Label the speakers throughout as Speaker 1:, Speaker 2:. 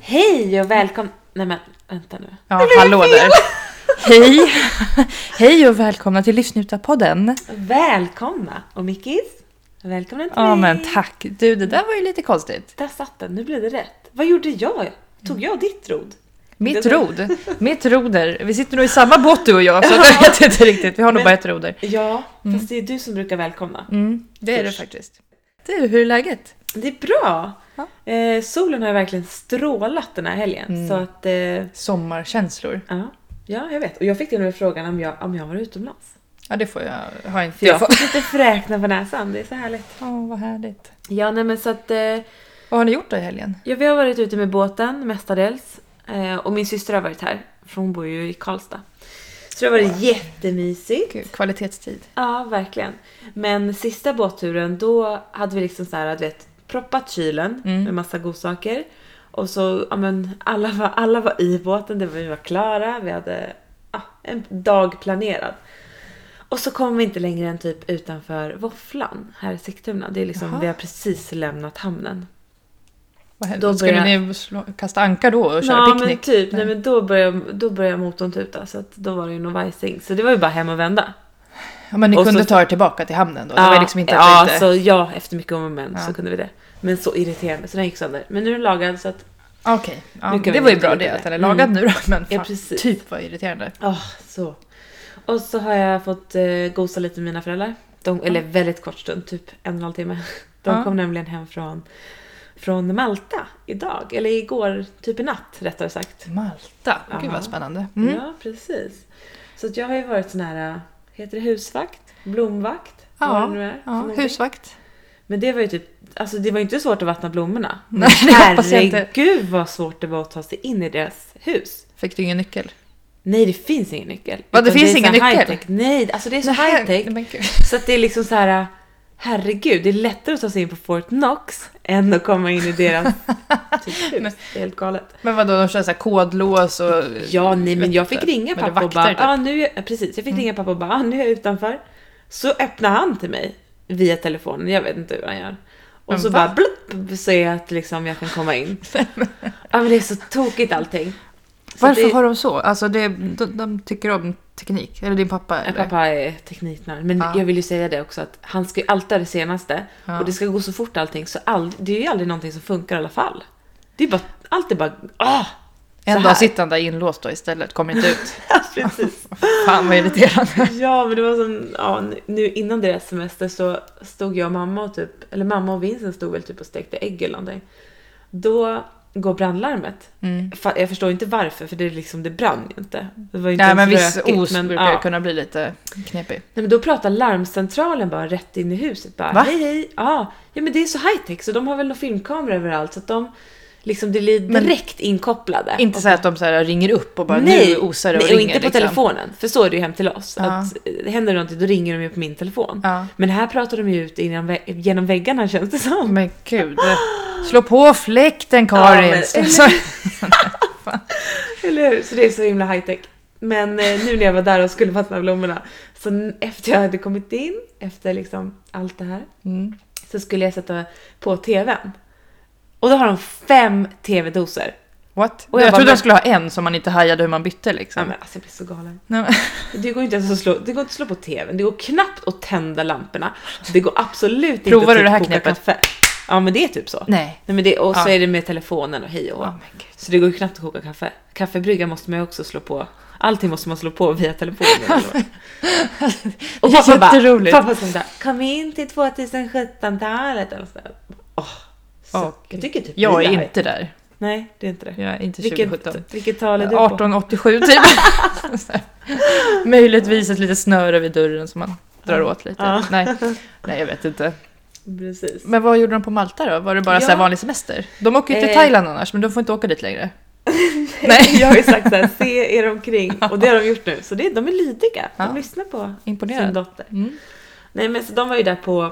Speaker 1: Hej och välkommen... Nej men, vänta nu.
Speaker 2: Ja, hallå där. Hej! Hej och välkomna till Livsnjutarpodden.
Speaker 1: Välkomna! Och Mickis, välkommen till
Speaker 2: Ja
Speaker 1: mig.
Speaker 2: men tack. Du, det där var ju lite konstigt.
Speaker 1: Där satt den, nu blev det rätt. Vad gjorde jag? Tog jag ditt rod?
Speaker 2: Mitt
Speaker 1: Det-
Speaker 2: rod. Mitt roder. Vi sitter nog i samma båt du och jag, så jag vet inte riktigt. Vi har nog
Speaker 1: Men-
Speaker 2: bara ett roder.
Speaker 1: Ja, Mm. fast det är du som brukar välkomna.
Speaker 2: Mm, det är det faktiskt. Du, hur är läget?
Speaker 1: Det är bra!
Speaker 2: Ja.
Speaker 1: Eh, solen har verkligen strålat den här helgen. Så att... Eh,
Speaker 2: Sommarkänslor.
Speaker 1: ja, ja, jag vet. Och jag fick till och med frågan om jag, om jag var utomlands.
Speaker 2: Ja, det får jag. Har inte
Speaker 1: För jag
Speaker 2: jag.
Speaker 1: får lite fräknar på näsan, det är så härligt.
Speaker 2: Åh, vad härligt.
Speaker 1: Ja, nej men så att... Eh,
Speaker 2: Vad har ni gjort då i helgen?
Speaker 1: Ja, vi har varit ute med båten mestadels. Eh, och min syster har varit här, för hon bor ju i Karlstad. Så det har varit jättemysigt.
Speaker 2: Gud, kvalitetstid.
Speaker 1: Ja, verkligen. Men sista båtturen, då hade vi liksom så här, du vet, proppat kylen med massa godsaker. Och så, ja men alla var, alla var i båten, det var, vi var klara, vi hade ja, en dag planerad. Och så kom vi inte längre än typ utanför Våfflan här i Sigtuna. Det är liksom,
Speaker 2: Jaha.
Speaker 1: vi har precis lämnat hamnen.
Speaker 2: Vad
Speaker 1: Då
Speaker 2: hände? Skulle
Speaker 1: börjar-
Speaker 2: ni slå, kasta anka då och köra
Speaker 1: Ja men
Speaker 2: picknick?
Speaker 1: typ, nej. men då började, då började motorn tuta så att då var det ju någon vajsing. Så det var ju bara hem och vända.
Speaker 2: Ja, men ni
Speaker 1: Och
Speaker 2: kunde
Speaker 1: så-
Speaker 2: ta er tillbaka till hamnen då? Det var liksom inte att
Speaker 1: ja,
Speaker 2: det inte...
Speaker 1: så ja, efter mycket om och men så
Speaker 2: Ja.
Speaker 1: kunde vi det. Men så irriterande, så den gick sönder. Men nu är den lagad så att,
Speaker 2: Okej, ja,
Speaker 1: Nu kan
Speaker 2: det
Speaker 1: vi
Speaker 2: var ju
Speaker 1: inte
Speaker 2: bra
Speaker 1: gå
Speaker 2: det
Speaker 1: vidare. Mm.
Speaker 2: att den är lagad nu då. Men fan,
Speaker 1: Ja, precis.
Speaker 2: typ vad irriterande.
Speaker 1: ah så. Och så har jag fått eh, gosa lite med mina föräldrar. De, Eller väldigt kort stund, typ en och en halv timme. De
Speaker 2: Ja.
Speaker 1: kom nämligen hem från, från Malta idag, eller igår, typ i natt rättare sagt.
Speaker 2: Malta, gud
Speaker 1: Aha.
Speaker 2: vad spännande. Mm.
Speaker 1: Ja, precis. Så att jag har ju varit sån här, heter det husvakt? Blomvakt? Vad det nu
Speaker 2: Ja,
Speaker 1: är för
Speaker 2: ja,
Speaker 1: någonting.
Speaker 2: husvakt.
Speaker 1: Men det var ju typ, alltså det var ju inte svårt att vattna blommorna.
Speaker 2: Nej, det hoppas jag inte.
Speaker 1: Herregud vad svårt det var att ta sig in i deras hus.
Speaker 2: Fick du ingen nyckel?
Speaker 1: Nej, det finns ingen nyckel.
Speaker 2: Va, det
Speaker 1: Utan
Speaker 2: finns
Speaker 1: är så
Speaker 2: ingen
Speaker 1: här
Speaker 2: nyckel?
Speaker 1: high-tech. Nej, alltså det är så
Speaker 2: Nej,
Speaker 1: high tech.
Speaker 2: men gud.
Speaker 1: Så att det är liksom så här, herregud, det är lättare att ta sig in på Fort Knox än att komma in i deras typ, hus. Det är helt galet.
Speaker 2: Men vadå, de kör så här kodlås och...
Speaker 1: Ja, nej, men jag fick ringa
Speaker 2: Men det är
Speaker 1: pappa och
Speaker 2: vakter,
Speaker 1: bara,
Speaker 2: typ. Mm.
Speaker 1: ah, nu är jag, ja, precis, jag fick ringa pappa och bara, ah, nu är jag utanför. Så öppnar han till mig via telefonen, jag vet inte hur han gör. Och
Speaker 2: Men
Speaker 1: så
Speaker 2: va?
Speaker 1: bara blupp, så är jag att liksom jag kan komma in. ja men det är så tokigt allting. Så
Speaker 2: Varför
Speaker 1: det,
Speaker 2: har de så? Alltså det, de, de tycker om teknik. Eller din pappa?
Speaker 1: Ja,
Speaker 2: Eller?
Speaker 1: Pappa är tekniknörd, men
Speaker 2: Ja.
Speaker 1: jag vill ju säga det också att han ska ju alltid ha det senaste
Speaker 2: Ja.
Speaker 1: och det ska gå så fort allting så all, det är ju aldrig någonting som funkar i alla fall. Det är bara, allt är bara, ah! så
Speaker 2: En
Speaker 1: här.
Speaker 2: dag sitter han där inlåst då istället, kommer inte ut.
Speaker 1: Precis.
Speaker 2: Fan vad irriterande.
Speaker 1: Ja, men det var som, ja, nu innan deras semester så stod jag och mamma och typ, eller mamma och Vincent stod väl typ och stekte ägg eller någonting. Då går brandlarmet.
Speaker 2: Mm.
Speaker 1: Fa- Jag förstår inte varför, för det, är liksom, det brann ju inte. Det var ju inte
Speaker 2: Nej men
Speaker 1: ens
Speaker 2: viss
Speaker 1: rökigt,
Speaker 2: os
Speaker 1: men,
Speaker 2: brukar
Speaker 1: ja.
Speaker 2: ju kunna bli lite knepig.
Speaker 1: Nej, men då pratar larmcentralen bara rätt in i huset. Bara,
Speaker 2: Va?
Speaker 1: Hej hej! Ja, ja, men det är så high tech så de har väl någon filmkamera överallt så att de liksom det blir
Speaker 2: Men-
Speaker 1: direkt inkopplade.
Speaker 2: Inte så här att de så här ringer upp och bara nu osar det och
Speaker 1: nej,
Speaker 2: ringer.
Speaker 1: och inte på
Speaker 2: liksom.
Speaker 1: telefonen. För så är det ju hem till oss.
Speaker 2: Ja.
Speaker 1: Att, eh, händer det någonting då ringer de ju på min telefon.
Speaker 2: Ja.
Speaker 1: Men här pratar de ju ut innan vä- genom väggarna känns det som.
Speaker 2: Men gud. Slå på fläkten
Speaker 1: Ja,
Speaker 2: Karin.
Speaker 1: men-
Speaker 2: Så-
Speaker 1: Eller hur? Så det är så himla high tech. Men eh, nu när jag var där och skulle vattna blommorna. Så n- efter jag hade kommit in, efter liksom allt det här.
Speaker 2: Mm.
Speaker 1: Så skulle jag sätta på TVn. Och då har de fem TV-doser.
Speaker 2: What?
Speaker 1: Och jag
Speaker 2: jag
Speaker 1: bara,
Speaker 2: trodde
Speaker 1: men-
Speaker 2: de skulle ha en som man inte hajade hur man bytte
Speaker 1: Ja,
Speaker 2: liksom.
Speaker 1: men alltså jag blir så galen.
Speaker 2: Nej, men-
Speaker 1: Det går inte ens att slå, det går inte att slå på TVn. Det går knappt att tända lamporna. Det går absolut inte
Speaker 2: Provar
Speaker 1: att typ
Speaker 2: du det här
Speaker 1: koka
Speaker 2: knepet?
Speaker 1: kaffe. Ja men det är typ så.
Speaker 2: Nej.
Speaker 1: Nej, men det, och så
Speaker 2: Ja.
Speaker 1: är det med telefonen och hej och hå.
Speaker 2: Ja, men gud.
Speaker 1: Så det går ju knappt att koka kaffe. Kaffebrygga måste man ju också slå på. Allting måste man slå på via telefonen. eller vad. och pappa bara,
Speaker 2: Jätteroligt.
Speaker 1: pappa som där, kom in till 2017-talet. eller så där. Åh, så-
Speaker 2: Åh,
Speaker 1: jag tycker typ
Speaker 2: Jag
Speaker 1: vi
Speaker 2: är
Speaker 1: där-
Speaker 2: inte där.
Speaker 1: Nej, det är inte det.
Speaker 2: Jag är inte 2017.
Speaker 1: Vilket, vilket tal är du på?
Speaker 2: 1887 typ. Så här. Möjligtvis ett litet snöre vid dörren som man drar åt lite.
Speaker 1: Ja.
Speaker 2: Nej. Nej, jag vet inte.
Speaker 1: Precis.
Speaker 2: Men vad gjorde de på Malta då? Var det bara så
Speaker 1: Ja.
Speaker 2: här vanlig semester? De åker ju till
Speaker 1: Eh.
Speaker 2: Thailand annars, men de får inte åka dit längre. Nej.
Speaker 1: Jag har ju sagt såhär, se er omkring. Och det har de gjort nu. Så det, de är lydiga. De
Speaker 2: Ja.
Speaker 1: lyssnar på sin
Speaker 2: Imponerad.
Speaker 1: dotter.
Speaker 2: Mm.
Speaker 1: Nej men så de var ju där på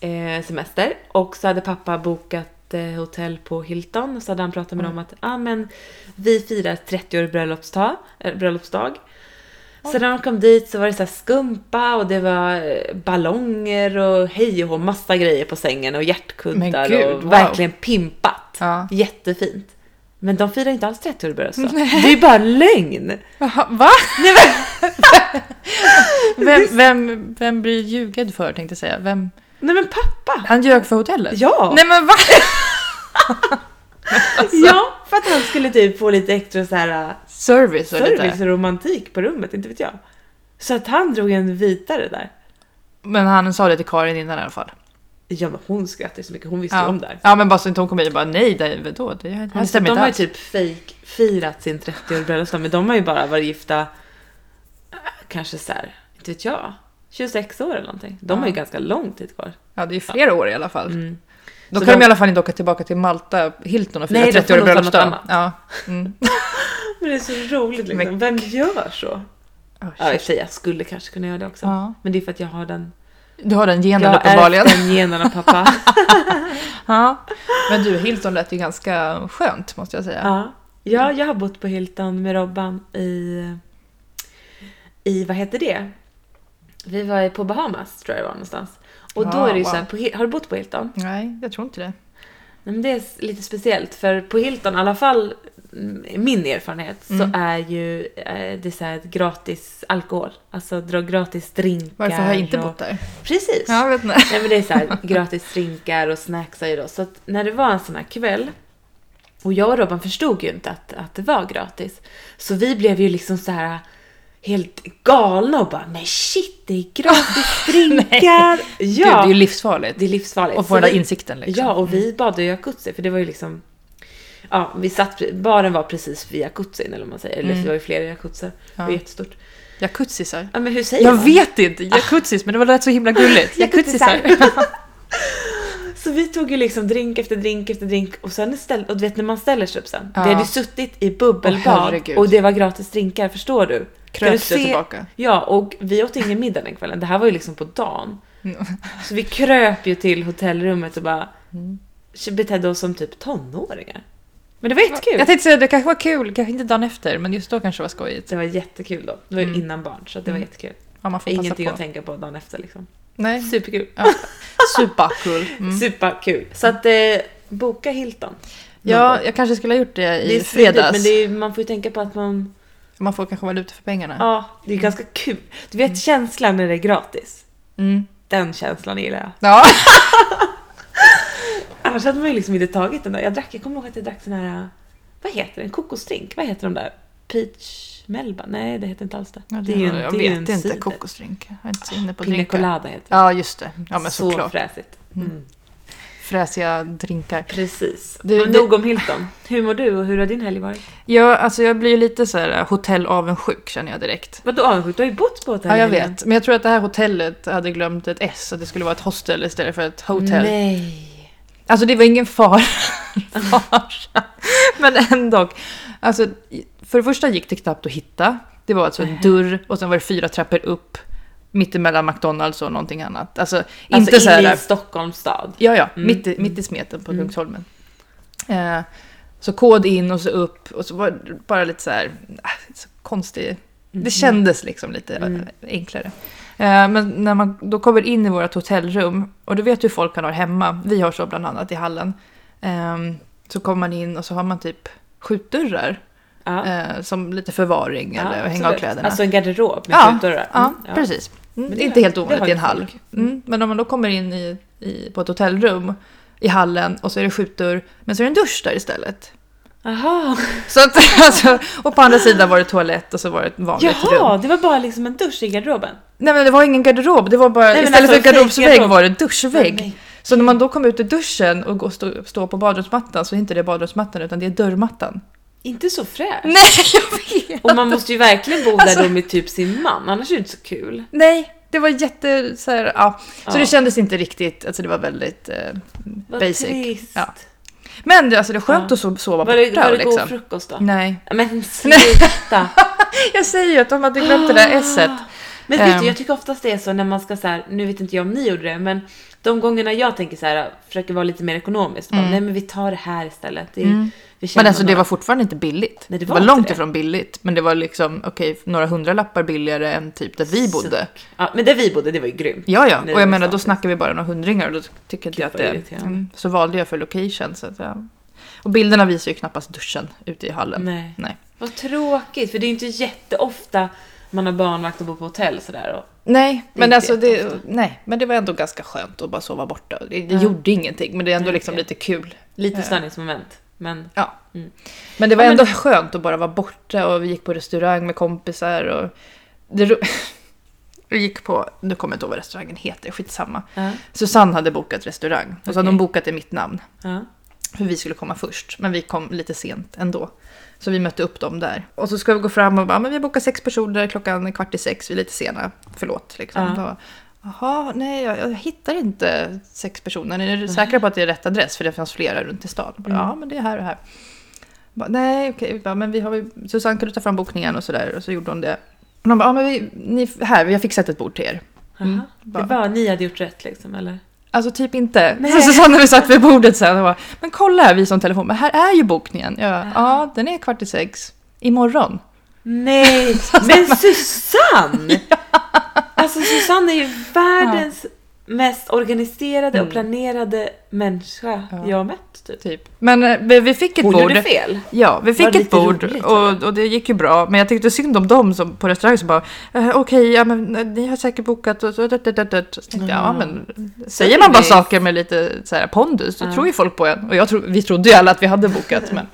Speaker 1: eh, semester och så hade pappa bokat eh, hotell på Hilton och så hade han pratat med
Speaker 2: Mm.
Speaker 1: dem att ah, men vi firar 30 år bröllopsdag. eh, bröllopsdag. Så när de kom dit så var det så här skumpa och det var eh, ballonger och hej och hå, massa grejer på sängen och hjärtkuddar
Speaker 2: Men gud,
Speaker 1: och
Speaker 2: wow.
Speaker 1: verkligen pimpat.
Speaker 2: Ja.
Speaker 1: Jättefint. Men de firar inte alls 30 år i Burrös Det är ju bara lögn!
Speaker 2: Jaha, va? vem, vem, vem blir ljugad för tänkte jag säga. Vem?
Speaker 1: Nej men pappa!
Speaker 2: Han ljög för hotellet?
Speaker 1: Ja!
Speaker 2: Nej men va?
Speaker 1: Ja, för att han skulle typ få lite extra så här äh,
Speaker 2: Service och
Speaker 1: service
Speaker 2: lite.
Speaker 1: och romantik på rummet, inte vet jag. Så att han drog en vitare där.
Speaker 2: Men han sa det till Karin innan i alla fall.
Speaker 1: Ja men hon skrattade så mycket, hon visste ju
Speaker 2: Ja.
Speaker 1: om det här.
Speaker 2: ja men bara så inte hon kom in och bara nej, det, vadå? Det, det
Speaker 1: Alltså,
Speaker 2: stämmer
Speaker 1: de
Speaker 2: inte
Speaker 1: har ju
Speaker 2: alls.
Speaker 1: typ fake firat sin 30 bröllopsdag men de har ju bara varit gifta äh, kanske så här, inte vet jag, 26 år eller någonting. De har ju
Speaker 2: Ja.
Speaker 1: ganska lång tid kvar.
Speaker 2: Ja det är flera år i alla fall.
Speaker 1: typ- Mm.
Speaker 2: Då
Speaker 1: Så
Speaker 2: kan de...
Speaker 1: de-
Speaker 2: i alla fall inte åka tillbaka till Malta, Hilton och fira
Speaker 1: Nej, då får
Speaker 2: 30 år i
Speaker 1: de ta något
Speaker 2: bröllopsdag.
Speaker 1: annat.
Speaker 2: Ja. Mm.
Speaker 1: Men det är så roligt liksom.
Speaker 2: Men-
Speaker 1: Vem gör så?
Speaker 2: Oh,
Speaker 1: Ja i och
Speaker 2: shit.
Speaker 1: för sig, jag skulle kanske kunna göra det också.
Speaker 2: Ja.
Speaker 1: Men det är för att jag har den.
Speaker 2: Du har den genen
Speaker 1: Jag har
Speaker 2: uppenbarligen.
Speaker 1: ärvt den genen av pappa.
Speaker 2: Ja. Men du, Hilton lät ju ganska skönt måste jag säga.
Speaker 1: ja. ja, jag har bott på Hilton med Robban i... I, vad heter det? Vi var på Bahamas tror jag det var någonstans. Och då
Speaker 2: Ah,
Speaker 1: är det ju
Speaker 2: wow.
Speaker 1: så här, på, Hil- har du bott på Hilton?
Speaker 2: Nej, jag tror inte det.
Speaker 1: Nej, men det är s- lite speciellt för på Hilton, i alla fall mm, min erfarenhet,
Speaker 2: Mm.
Speaker 1: så är ju eh, det är så här ett gratis alkohol. Alltså dra gratis drinkar.
Speaker 2: Varför har jag inte
Speaker 1: och-
Speaker 2: bott där?
Speaker 1: Precis!
Speaker 2: Ja, jag vet inte.
Speaker 1: Nej men det är så här, gratis drinkar och snacks är ju då. Så att när det var en sån här kväll och jag och Robban förstod ju inte att, att det var gratis. Så vi blev ju liksom så här helt galna och bara men shit det är gratis drinkar!
Speaker 2: Gud, det
Speaker 1: ja!
Speaker 2: är ju livsfarligt.
Speaker 1: det är livsfarligt.
Speaker 2: Och
Speaker 1: Så
Speaker 2: få den där
Speaker 1: vi-
Speaker 2: insikten liksom.
Speaker 1: Ja, och vi bad i jacuzzi för det var ju liksom... Ja, vi satt, pre- baren var precis vid jacuzzin eller vad man säger. Eller det var ju flera jacuzzar. Det var
Speaker 2: Mm. Ja.
Speaker 1: jättestort.
Speaker 2: Jacuzzisar.
Speaker 1: Ja, men hur säger
Speaker 2: Jag
Speaker 1: man?
Speaker 2: vet inte, jacuzzis, men det var lät så himla gulligt.
Speaker 1: Jacuzzisar.
Speaker 2: Jacuzzisar.
Speaker 1: Så vi tog ju liksom drink efter drink efter drink och sen istället, och du vet när man ställer sig upp sen.
Speaker 2: Ja.
Speaker 1: Vi hade ju suttit i
Speaker 2: Åh,
Speaker 1: bubbelbad
Speaker 2: herregud.
Speaker 1: och det var gratis drinkar, förstår du? Kan du
Speaker 2: Kröp sig tillbaka.
Speaker 1: Ja, och vi åt ingen middag den kvällen. Det här var ju liksom på dagen. Så vi kröp ju till hotellrummet och bara
Speaker 2: Mm.
Speaker 1: betedde oss som typ tonåringar. Men det var jättekul.
Speaker 2: Jag tänkte säga, det kanske var kul, kanske inte dagen efter, men just då kanske det var skojigt.
Speaker 1: Det var jättekul då. Det var ju innan barn så att det var jättekul.
Speaker 2: Ja, man Mm. får passa
Speaker 1: Ingenting
Speaker 2: på.
Speaker 1: att tänka på dagen efter liksom.
Speaker 2: Nej.
Speaker 1: Superkul.
Speaker 2: Ja. Superkul. Mm.
Speaker 1: Superkul. Så att eh, boka Hilton.
Speaker 2: Ja, jag kanske skulle ha gjort det i
Speaker 1: Det är fredags.
Speaker 2: fredags.
Speaker 1: men det är, man får ju tänka på att man...
Speaker 2: Man får kanske valuta för pengarna.
Speaker 1: Ja, det är ganska kul. Du vet känslan när det är gratis.
Speaker 2: Mm.
Speaker 1: Den känslan gillar jag.
Speaker 2: Ja.
Speaker 1: Annars hade man ju liksom inte tagit den där. Jag drack, jag kommer ihåg att jag drack sån här... äh, Vad heter den? Kokosdrink? Vad heter de där? Peach Melba? Nej, det heter inte alls det. det är ju en,
Speaker 2: jag
Speaker 1: det är ju en
Speaker 2: vet inte,
Speaker 1: cider.
Speaker 2: kokosdrink. Jag är inte så inne på
Speaker 1: Pina
Speaker 2: drinkar.
Speaker 1: colada heter det.
Speaker 2: Ja, just det. Ja, men
Speaker 1: Så
Speaker 2: såklart.
Speaker 1: fräsigt. Mm.
Speaker 2: Fräsiga drinkar.
Speaker 1: Precis.
Speaker 2: Du-
Speaker 1: Men
Speaker 2: du-
Speaker 1: Nog om Hilton. Hur mår du och hur har din helg varit?
Speaker 2: Jag, alltså, jag blir ju lite så här hotellavundsjuk känner jag direkt.
Speaker 1: Vadå avundsjuk? Du har ju bott på hotell
Speaker 2: Ja, jag
Speaker 1: länge.
Speaker 2: vet. Men jag tror att det här hotellet hade glömt ett S, att det skulle vara ett hostel istället för ett hotell.
Speaker 1: Nej.
Speaker 2: Alltså det var ingen fara. fara. Men ändå. Alltså, för det första gick det knappt att hitta. Det var alltså en dörr och sen var det fyra trappor upp. Mittemellan McDonalds och någonting annat. Alltså,
Speaker 1: Alltså
Speaker 2: inte så här...
Speaker 1: inne i Stockholms stad.
Speaker 2: Ja, ja.
Speaker 1: Mm.
Speaker 2: Mitt, i, mitt i smeten på Kungsholmen. Eh, så kod in och så upp och så var det bara lite så här ah, så konstig.
Speaker 1: Mm.
Speaker 2: Det kändes liksom lite eh, enklare. Eh, men när man då kommer in i vårt hotellrum och du vet hur folk kan ha det hemma. Vi har så bland annat i hallen. Eh, så kommer man in och så har man typ skjutdörrar
Speaker 1: Ja.
Speaker 2: eh, som lite förvaring eller att hänga av
Speaker 1: absolut.
Speaker 2: kläderna.
Speaker 1: Alltså en garderob med
Speaker 2: Ja,
Speaker 1: skjutdörrar.
Speaker 2: Ja,
Speaker 1: Mm, ja.
Speaker 2: precis. Mm,
Speaker 1: Men
Speaker 2: det
Speaker 1: det
Speaker 2: är inte
Speaker 1: har-
Speaker 2: helt
Speaker 1: det
Speaker 2: ovanligt
Speaker 1: har
Speaker 2: i en
Speaker 1: ju folk.
Speaker 2: hall. Mm. Men om man då kommer in i, i, på ett hotellrum i hallen och så är det skjutdörr, men så är det en dusch där istället.
Speaker 1: Aha.
Speaker 2: Så att, alltså, och på andra sidan var det toalett och så var det ett vanligt
Speaker 1: Jaha,
Speaker 2: rum.
Speaker 1: det var bara liksom en dusch i garderoben.
Speaker 2: Nej men det var ingen garderob, det var bara,
Speaker 1: men
Speaker 2: istället
Speaker 1: alltså,
Speaker 2: för garderobsvägg
Speaker 1: fake
Speaker 2: var det
Speaker 1: Nej,
Speaker 2: duschvägg. Så när man då kom ut ur duschen och går- stå- står på badrumsmattan så är inte det badrumsmattan utan det är dörrmattan.
Speaker 1: Inte så fräscht.
Speaker 2: Nej, jag vet!
Speaker 1: Och man måste ju verkligen bo
Speaker 2: Alltså-
Speaker 1: där då med typ sin man, annars är det inte så kul.
Speaker 2: Nej, det var jätte... Så, här, ja. så
Speaker 1: Ja.
Speaker 2: det kändes inte riktigt, alltså det var väldigt eh,
Speaker 1: Vad
Speaker 2: basic.
Speaker 1: trist.
Speaker 2: Ja. Men det, alltså det är skönt att so- sova
Speaker 1: Var
Speaker 2: borta.
Speaker 1: det, var det god
Speaker 2: liksom.
Speaker 1: frukost då?
Speaker 2: Nej.
Speaker 1: Men sluta!
Speaker 2: Jag säger ju att de hade glömt det
Speaker 1: Ah.
Speaker 2: där S-et.
Speaker 1: Men vet
Speaker 2: Ehm.
Speaker 1: du, jag tycker oftast det är så när man ska så här, nu vet inte jag om ni gjorde det, men de gångerna jag tänker så här, försöker vara lite mer ekonomisk, bara, nej men vi tar det här istället. Det, vi känner
Speaker 2: Mm. Men alltså det
Speaker 1: några.
Speaker 2: var fortfarande inte billigt.
Speaker 1: Nej, det
Speaker 2: det
Speaker 1: var
Speaker 2: var
Speaker 1: inte
Speaker 2: långt
Speaker 1: det.
Speaker 2: ifrån billigt. Men det var liksom, okej, några hundra lappar billigare än typ där vi bodde.
Speaker 1: Suck. Ja, men där vi bodde, det var ju grymt.
Speaker 2: Ja, ja.
Speaker 1: Nej,
Speaker 2: Och
Speaker 1: det
Speaker 2: jag
Speaker 1: var
Speaker 2: menar, då
Speaker 1: sant.
Speaker 2: snackar vi bara några hundringar och då tycker inte
Speaker 1: Gud,
Speaker 2: jag att
Speaker 1: vad
Speaker 2: det...
Speaker 1: irriterande.
Speaker 2: Mm, så valde jag för location, så att ja. Och bilderna visar ju knappast duschen ute i hallen.
Speaker 1: Nej.
Speaker 2: Nej.
Speaker 1: Vad tråkigt, för det är inte jätteofta man har barnvakt och bor på hotell sådär. Och...
Speaker 2: Nej, men
Speaker 1: inte
Speaker 2: alltså det,
Speaker 1: jätteofta.
Speaker 2: nej, men det var ändå ganska skönt att bara sova borta. Det, det
Speaker 1: Ja.
Speaker 2: gjorde ingenting, men det är ändå
Speaker 1: Nej,
Speaker 2: liksom
Speaker 1: okej.
Speaker 2: lite kul.
Speaker 1: Lite
Speaker 2: Ja.
Speaker 1: störningsmoment. Men
Speaker 2: Ja.
Speaker 1: Mm.
Speaker 2: Men det var
Speaker 1: Ja, men-
Speaker 2: ändå skönt att bara vara borta och vi gick på restaurang med kompisar och... Det ro... Vi gick på, nu kommer jag inte ihåg vad restaurangen heter, skitsamma.
Speaker 1: ja,
Speaker 2: Susanne hade bokat restaurang och så hade
Speaker 1: Okej.
Speaker 2: hon bokat i mitt namn.
Speaker 1: ja.
Speaker 2: För vi skulle komma först, men vi kom lite sent ändå. Så vi mötte upp dem där. Och så ska vi gå fram och bara, men vi bokar sex personer klockan kvart i sex, vi är lite sena, förlåt. Liksom.
Speaker 1: Ja.
Speaker 2: Då, Jaha, nej jag, jag hittar inte sex personer. Är du säkra på att det är rätt adress? För det fanns flera runt i stan. Bara, Ja, men det är här och här. Bara, nej, okej, vi bara, men vi har ju- Susanne kan du ta fram bokningen och sådär. Och så gjorde hon det. Och de bara, ja men vi, ni, här, vi har fixat ett bord till er.
Speaker 1: Jaha.
Speaker 2: Mm,
Speaker 1: det
Speaker 2: bara-
Speaker 1: var ni hade gjort rätt liksom, eller?
Speaker 2: Alltså typ inte.
Speaker 1: Nej.
Speaker 2: Så Susanne när vi satt vid bordet sen och bara, men kolla här vi som telefon, men här är ju bokningen. Jag, bara, ja, den är kvart i sex. Imorgon.
Speaker 1: Nej, men Susanne! Alltså Susanne är ju världens mest organiserade och
Speaker 2: Mm.
Speaker 1: planerade människa
Speaker 2: Ja.
Speaker 1: jag har mett. Typ.
Speaker 2: Typ. Men eh, vi, vi fick ett
Speaker 1: Hon
Speaker 2: bord.
Speaker 1: gjorde fel.
Speaker 2: Ja, vi
Speaker 1: Var
Speaker 2: fick
Speaker 1: det
Speaker 2: ett
Speaker 1: lite
Speaker 2: bord
Speaker 1: roligt,
Speaker 2: och, och det gick ju bra. Men jag tyckte synd om dem som, på restaurang som bara, eh, okej, ja, men eh, ni har säkert bokat och så, dött, dött, dött, dött. så tänkte jag, ja
Speaker 1: Ja.
Speaker 2: men säger man bara
Speaker 1: det-
Speaker 2: saker med lite så här, pondus, då
Speaker 1: Mm. Ja.
Speaker 2: tror ju folk på en. Och jag tro, vi trodde ju alla att vi hade bokat, men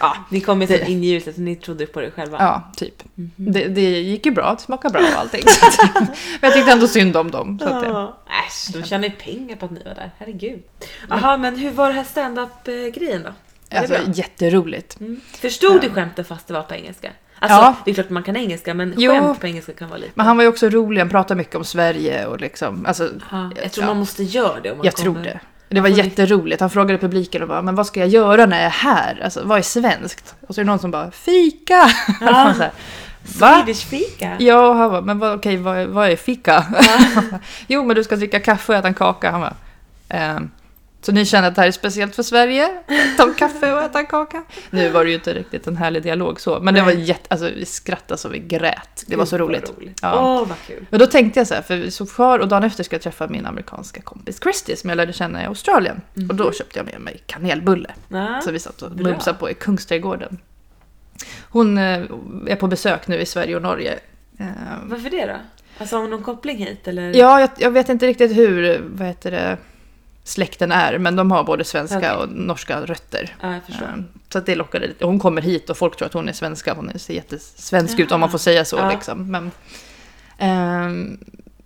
Speaker 2: ja,
Speaker 1: Ni kom ju
Speaker 2: Det-
Speaker 1: sen in i ljuset och ni trodde på det själva.
Speaker 2: Ja, typ.
Speaker 1: Mhm.
Speaker 2: det, det gick ju bra, det smakade bra och allting. Så att- Men jag tyckte ändå synd om dem. Så att, det-
Speaker 1: Ja. Äsch, de tjänar ju pengar på att ni var där. Herregud.
Speaker 2: Mm.
Speaker 1: Jaha, men hur var det här stand-up-grejen då? Var det
Speaker 2: alltså,
Speaker 1: bra?
Speaker 2: jätteroligt.
Speaker 1: Mm. Förstod du skämten fast det var på engelska? Alltså,
Speaker 2: Ja.
Speaker 1: det är klart man kan engelska, men
Speaker 2: Jo.
Speaker 1: skämt på engelska kan vara lite...
Speaker 2: Men han var ju också rolig, han pratade mycket om Sverige och liksom... Alltså,
Speaker 1: Ja, jag tror
Speaker 2: ja,
Speaker 1: man måste göra det om man liksom-
Speaker 2: jag
Speaker 1: kommer.
Speaker 2: tror det. Det var jätteroligt. Han frågade publiken och bara, men vad ska jag göra när jag är här? Alltså, vad är svenskt? Och så är det någon som bara, fika! Ja. så här, Va?
Speaker 1: Swedish fika?
Speaker 2: Ja, och han bara, men vad, okej, vad, vad är fika? jo, men du ska dricka kaffe och äta en kaka. Han bara, ehm, så ni känner att det här är speciellt för Sverige? Ta kaffe och äta en kaka? Nu var det ju inte riktigt en härlig dialog så, men det var
Speaker 1: Nej.
Speaker 2: jätte, alltså vi skrattade så vi grät. Det var så
Speaker 1: Gud, vad
Speaker 2: roligt.
Speaker 1: Åh,
Speaker 2: Ja.
Speaker 1: vad kul.
Speaker 2: Men då tänkte jag så här, för så kvar och dagen efter ska jag träffa min amerikanska kompis Christy som jag lärde känna i Australien.
Speaker 1: Mhm.
Speaker 2: Och då köpte jag med mig kanelbulle.
Speaker 1: Ja.
Speaker 2: Så vi satt och
Speaker 1: Bra.
Speaker 2: mumsade på i Kungsträdgården. Hon eh, är på besök nu i Sverige och Norge.
Speaker 1: Eh,
Speaker 2: Ehm,
Speaker 1: Varför det då? Alltså har hon någon koppling hit eller?
Speaker 2: Eh, Ja, jag, jag vet inte riktigt hur vad heter det, släkten är, men de har både svenska
Speaker 1: Okej.
Speaker 2: och norska rötter.
Speaker 1: Ja, jag förstår.
Speaker 2: Ehm, Så att det lockade lite. Hon kommer hit och folk tror att hon är svenska. Hon ser jättesvensk ut om man får säga så.
Speaker 1: Ja.
Speaker 2: Liksom. Men, ehm,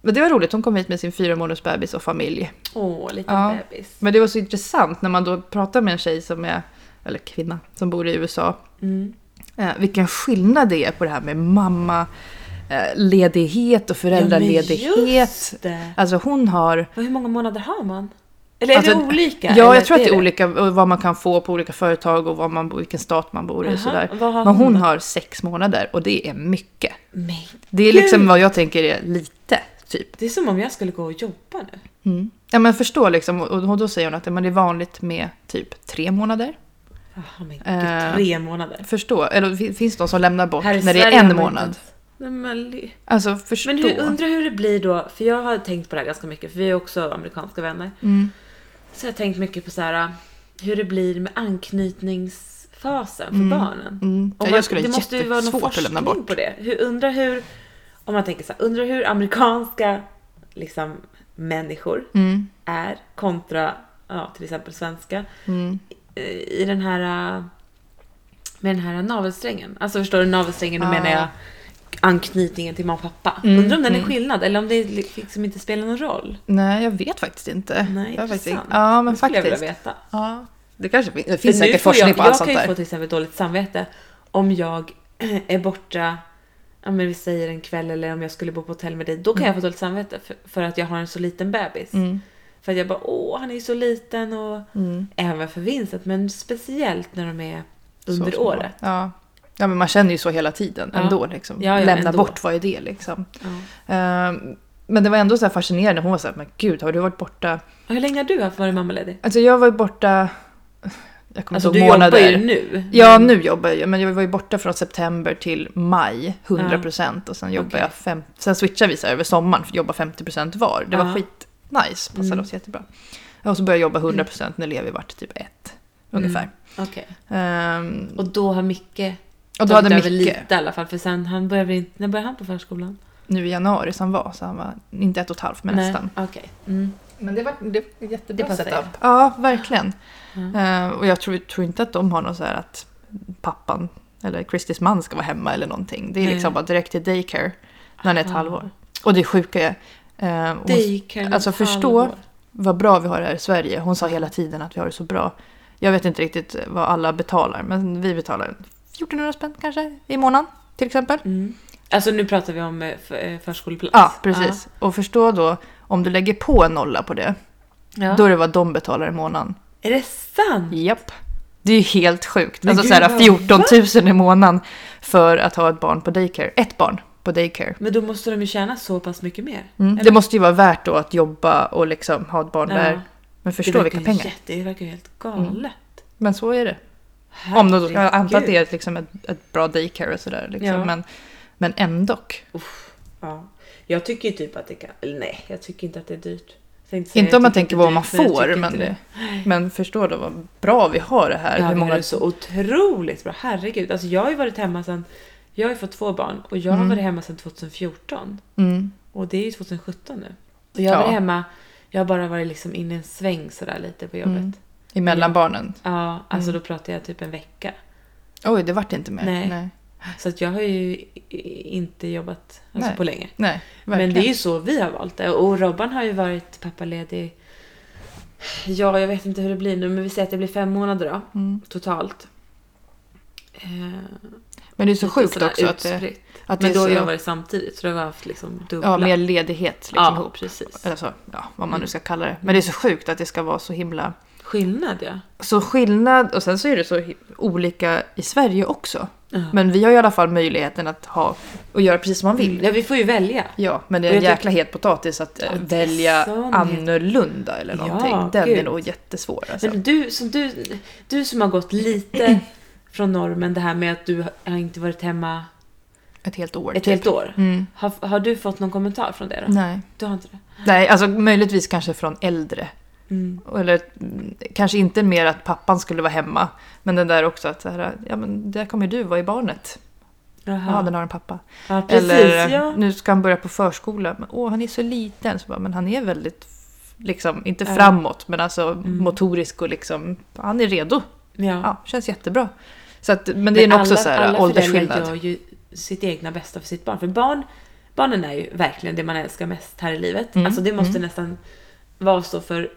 Speaker 2: men det var roligt. Hon kom hit med sin fyra månaders bebis och familj.
Speaker 1: Åh, liten
Speaker 2: Ja.
Speaker 1: bebis.
Speaker 2: Men det var så intressant när man då pratar med en tjej som är, eller kvinna, som bor i USA.
Speaker 1: Mm.
Speaker 2: Eh, vilken skillnad det är på det här med mamma, eh, ledighet och
Speaker 1: Ja, men
Speaker 2: föräldraledighet.
Speaker 1: just det.
Speaker 2: alltså hon har
Speaker 1: Vad- Hur många månader har man? Eller är det
Speaker 2: Alltså,
Speaker 1: olika?
Speaker 2: Ja,
Speaker 1: Eller
Speaker 2: jag tror att det är olika och vad man kan få på olika företag och vad man, vilken stat man bor i och
Speaker 1: Jaha,
Speaker 2: sådär.
Speaker 1: vad har
Speaker 2: Men hon
Speaker 1: hon då?
Speaker 2: har sex månader och det är mycket.
Speaker 1: Men
Speaker 2: Det är
Speaker 1: Gud.
Speaker 2: liksom vad jag tänker är lite, typ. Mm.
Speaker 1: det är som om jag skulle gå och jobba nu.
Speaker 2: Ja, men förstå liksom, och och då säger hon att ja, men det är vanligt med typ tre månader.
Speaker 1: Jaha, Ah, men
Speaker 2: Eh,
Speaker 1: gud, tre månader.
Speaker 2: Förstå, eller fin- finns det de som lämnar bort
Speaker 1: Här i
Speaker 2: när det
Speaker 1: Sverige
Speaker 2: är
Speaker 1: har
Speaker 2: en
Speaker 1: man
Speaker 2: månad?
Speaker 1: inte ens- Nej, men li-
Speaker 2: Alltså förstå.
Speaker 1: Men hur, undrar hur det blir då, för jag har tänkt på det här ganska mycket, för vi är också amerikanska vänner.
Speaker 2: Mm.
Speaker 1: Så jag har tänkt mycket på så här, hur det blir med anknytningsfasen för barnen.
Speaker 2: Mm.
Speaker 1: Och
Speaker 2: Ja,
Speaker 1: man-
Speaker 2: jag skulle
Speaker 1: det
Speaker 2: ha
Speaker 1: måste ju vara någon
Speaker 2: jättesvårt att lämna
Speaker 1: forskning
Speaker 2: bort.
Speaker 1: på det. Hur, undrar hur, om man tänker så här, undrar hur amerikanska liksom, människor
Speaker 2: Mm.
Speaker 1: är kontra ja, till exempel svenska
Speaker 2: Mm.
Speaker 1: eh, i den här eh, med den här navelsträngen. Alltså förstår du navelsträngen, då
Speaker 2: Ah.
Speaker 1: menar jag anknytningen till mamma och pappa.
Speaker 2: Mm,
Speaker 1: Undrar om den är
Speaker 2: mm.
Speaker 1: skillnad eller om det liksom inte spelar någon roll.
Speaker 2: Nej, jag vet faktiskt inte.
Speaker 1: Nej,
Speaker 2: jag faktiskt...
Speaker 1: intressant.
Speaker 2: Ja, men
Speaker 1: Det skulle jag vilja
Speaker 2: faktiskt.
Speaker 1: veta.
Speaker 2: Ja, det kanske fin- det finns
Speaker 1: För nu
Speaker 2: säkert
Speaker 1: får
Speaker 2: forskning
Speaker 1: jag,
Speaker 2: på allt
Speaker 1: Jag
Speaker 2: sånt
Speaker 1: kan ju
Speaker 2: där.
Speaker 1: få till exempel dåligt samvete om jag är borta, ja men vi säger en kväll eller om jag skulle bo på hotell med dig. Då kan jag få dåligt samvete för, för att jag har en så liten bebis.
Speaker 2: Mm.
Speaker 1: För att jag bara åh han är ju så liten och
Speaker 2: Mm.
Speaker 1: även för Vincent men speciellt när de är
Speaker 2: Så
Speaker 1: under
Speaker 2: små.
Speaker 1: året.
Speaker 2: Ja. ja, men man känner ju så hela tiden
Speaker 1: Ja.
Speaker 2: ändå. Liksom.
Speaker 1: Ja, ja,
Speaker 2: Lämna
Speaker 1: ändå.
Speaker 2: bort, vad är det liksom?
Speaker 1: Ja.
Speaker 2: Ehm, men det var ändå så här fascinerande. Hon var så här, men gud, har du varit borta?
Speaker 1: Och hur länge har du haft varit mammaledig?
Speaker 2: Alltså jag var ju borta, jag kommer
Speaker 1: Alltså
Speaker 2: inte
Speaker 1: du
Speaker 2: ihåg månader.
Speaker 1: jobbar ju nu.
Speaker 2: Ja, nu jobbar jag, men jag var ju borta från september till maj, 100 procent. Och sen jobbar
Speaker 1: Okej.
Speaker 2: jag fem, sen switchar vi så här över sommaren, för jobbar 50 procent var. Det var
Speaker 1: Ja.
Speaker 2: skitnice, passade
Speaker 1: Mm.
Speaker 2: oss jättebra. Och så började jag jobba 100 procent när Levi vart typ ett. ungefär.
Speaker 1: Okej. Mm.
Speaker 2: Ehm,
Speaker 1: Och då har Micke
Speaker 2: och då
Speaker 1: tagit
Speaker 2: hade
Speaker 1: över
Speaker 2: Micke,
Speaker 1: lite i alla fall. För sen han började, väl inte- när började han på förskolan?
Speaker 2: nu i januari som var, så han var inte ett och ett halvt men nästan.
Speaker 1: Nej, Okej. Mm.
Speaker 2: Men det var, det var
Speaker 1: Det
Speaker 2: jättebra
Speaker 1: passar
Speaker 2: setup. Ja, verkligen.
Speaker 1: Mm.
Speaker 2: Eh, och jag tror, tror inte att de har något så här att pappan eller Christies man ska vara hemma eller någonting. Det är
Speaker 1: Nej.
Speaker 2: liksom bara direkt till daycare när han är ett
Speaker 1: Ah.
Speaker 2: halvår. Och det sjuka är, eh, hon,
Speaker 1: Daycare,
Speaker 2: alltså,
Speaker 1: ett
Speaker 2: förstå-
Speaker 1: halvår.
Speaker 2: vad bra vi har det här i Sverige. Hon sa hela tiden att vi har det så bra. Jag vet inte riktigt vad alla betalar, men vi betalar 1400 spänn kanske i månaden till exempel.
Speaker 1: Mm. Alltså nu pratar vi om eh, för, eh, förskoleplats.
Speaker 2: Ja, precis. Och förstå då om du lägger på en nolla på det,
Speaker 1: Ja.
Speaker 2: då är det vad de betalar i månaden.
Speaker 1: Är det sant?
Speaker 2: Japp. Det är ju helt sjukt.
Speaker 1: Men
Speaker 2: alltså
Speaker 1: gud,
Speaker 2: såhär
Speaker 1: vad-
Speaker 2: 14 000 i månaden för att ha ett barn på daycare. Ett barn på daycare.
Speaker 1: Men då måste de ju tjäna så pass mycket mer.
Speaker 2: Mm. Det
Speaker 1: Eller-
Speaker 2: måste ju vara värt då att jobba och liksom ha ett barn där. Men förstå
Speaker 1: det
Speaker 2: vilka
Speaker 1: verkar ju
Speaker 2: pengar.
Speaker 1: Jätte, det verkar ju helt galet.
Speaker 2: Men så är det. Om de, jag antar att det
Speaker 1: Herregud.
Speaker 2: är ett, liksom ett, ett bra daycare och sådär. Liksom.
Speaker 1: Ja.
Speaker 2: Men, men ändå.
Speaker 1: Ja. Jag tycker ju typ att det kan... Eller nej, jag tycker inte att det är dyrt. Jag tänkte säga,
Speaker 2: Inte om
Speaker 1: jag
Speaker 2: man
Speaker 1: tycker
Speaker 2: tänker vad
Speaker 1: det är
Speaker 2: man
Speaker 1: dyrt, men jag
Speaker 2: får.
Speaker 1: tycker
Speaker 2: Men,
Speaker 1: inte
Speaker 2: det. men förstå då vad bra vi har det här.
Speaker 1: Ja,
Speaker 2: hur
Speaker 1: men
Speaker 2: många
Speaker 1: det är så otroligt bra. Herregud. Alltså jag har ju varit hemma sedan... Jag har ju fått två barn och jag har
Speaker 2: Mm.
Speaker 1: varit hemma sedan 2014.
Speaker 2: mm.
Speaker 1: Och det är ju 2017 nu. Och jag har
Speaker 2: Ja.
Speaker 1: varit hemma... Jag har bara varit liksom inne i en sväng sådär lite på jobbet.
Speaker 2: Mm. emellan barnen.
Speaker 1: Ja, alltså då pratar jag typ en vecka.
Speaker 2: Oj, det vart inte mer.
Speaker 1: Nej.
Speaker 2: Nej.
Speaker 1: Så att jag har ju i- i- inte jobbat alltså
Speaker 2: Nej.
Speaker 1: på länge.
Speaker 2: Nej,
Speaker 1: Men
Speaker 2: verkligen.
Speaker 1: det är ju så vi har valt det. Och Robban har ju varit pappaledig. Ja, jag vet inte hur det blir nu, men vi säger att det blir fem månader då.
Speaker 2: Mm.
Speaker 1: Totalt. Eh,
Speaker 2: Men det är så
Speaker 1: lite
Speaker 2: sjukt
Speaker 1: sådär
Speaker 2: också att det,
Speaker 1: utspritt.
Speaker 2: att det
Speaker 1: Men
Speaker 2: är
Speaker 1: då har
Speaker 2: så,
Speaker 1: jag varit samtidigt, så då har jag haft liksom dubbla.
Speaker 2: ja, mer ledighet liksom
Speaker 1: Ja, Mm.
Speaker 2: ihop.
Speaker 1: precis.
Speaker 2: Eller så, ja, vad man nu ska kalla det. Men det är så sjukt att det ska vara så himla...
Speaker 1: Skillnad ja.
Speaker 2: Så skillnad, och sen så är det så hi- olika i Sverige också.
Speaker 1: Ja.
Speaker 2: Men vi har i alla fall möjligheten att ha och göra precis som man vill.
Speaker 1: ja, vi får ju välja.
Speaker 2: Ja, men det är
Speaker 1: Mm. Och
Speaker 2: en
Speaker 1: jag
Speaker 2: jäkla het potatis att eh,
Speaker 1: Ja, det är
Speaker 2: välja
Speaker 1: sån het-
Speaker 2: annorlunda eller
Speaker 1: Ja,
Speaker 2: någonting. Den är
Speaker 1: gud.
Speaker 2: nog jättesvår alltså.
Speaker 1: Men du, som du, du som har gått lite från normen, det här med att du har inte varit hemma
Speaker 2: Ett helt år.
Speaker 1: ett
Speaker 2: typ.
Speaker 1: helt år.
Speaker 2: Mm.
Speaker 1: Har, har du fått någon kommentar från det då?
Speaker 2: Nej.
Speaker 1: Du har inte det?
Speaker 2: Nej, alltså möjligtvis kanske från äldre. Eller mm, kanske inte mer att pappan skulle vara hemma. Men den där också att så här, ja men där kommer du vara i barnet. Ja,
Speaker 1: Jaha.
Speaker 2: den har en pappa.
Speaker 1: Ja, precis.
Speaker 2: Eller
Speaker 1: ja.
Speaker 2: nu ska han börja på förskola. Men, åh, han är så liten. Så bara, men han är väldigt, liksom, inte
Speaker 1: Ja. Mm.
Speaker 2: framåt, men alltså motorisk och liksom, han är redo.
Speaker 1: Ja.
Speaker 2: Ja, känns jättebra. Så att, men det är nog också så här, åldersskillnad.
Speaker 1: Alla föräldrar gör ju sitt egna bästa för sitt barn. För barn, barnen är ju verkligen det man älskar mest här i livet.
Speaker 2: Mm,
Speaker 1: Alltså det måste nästan vara så för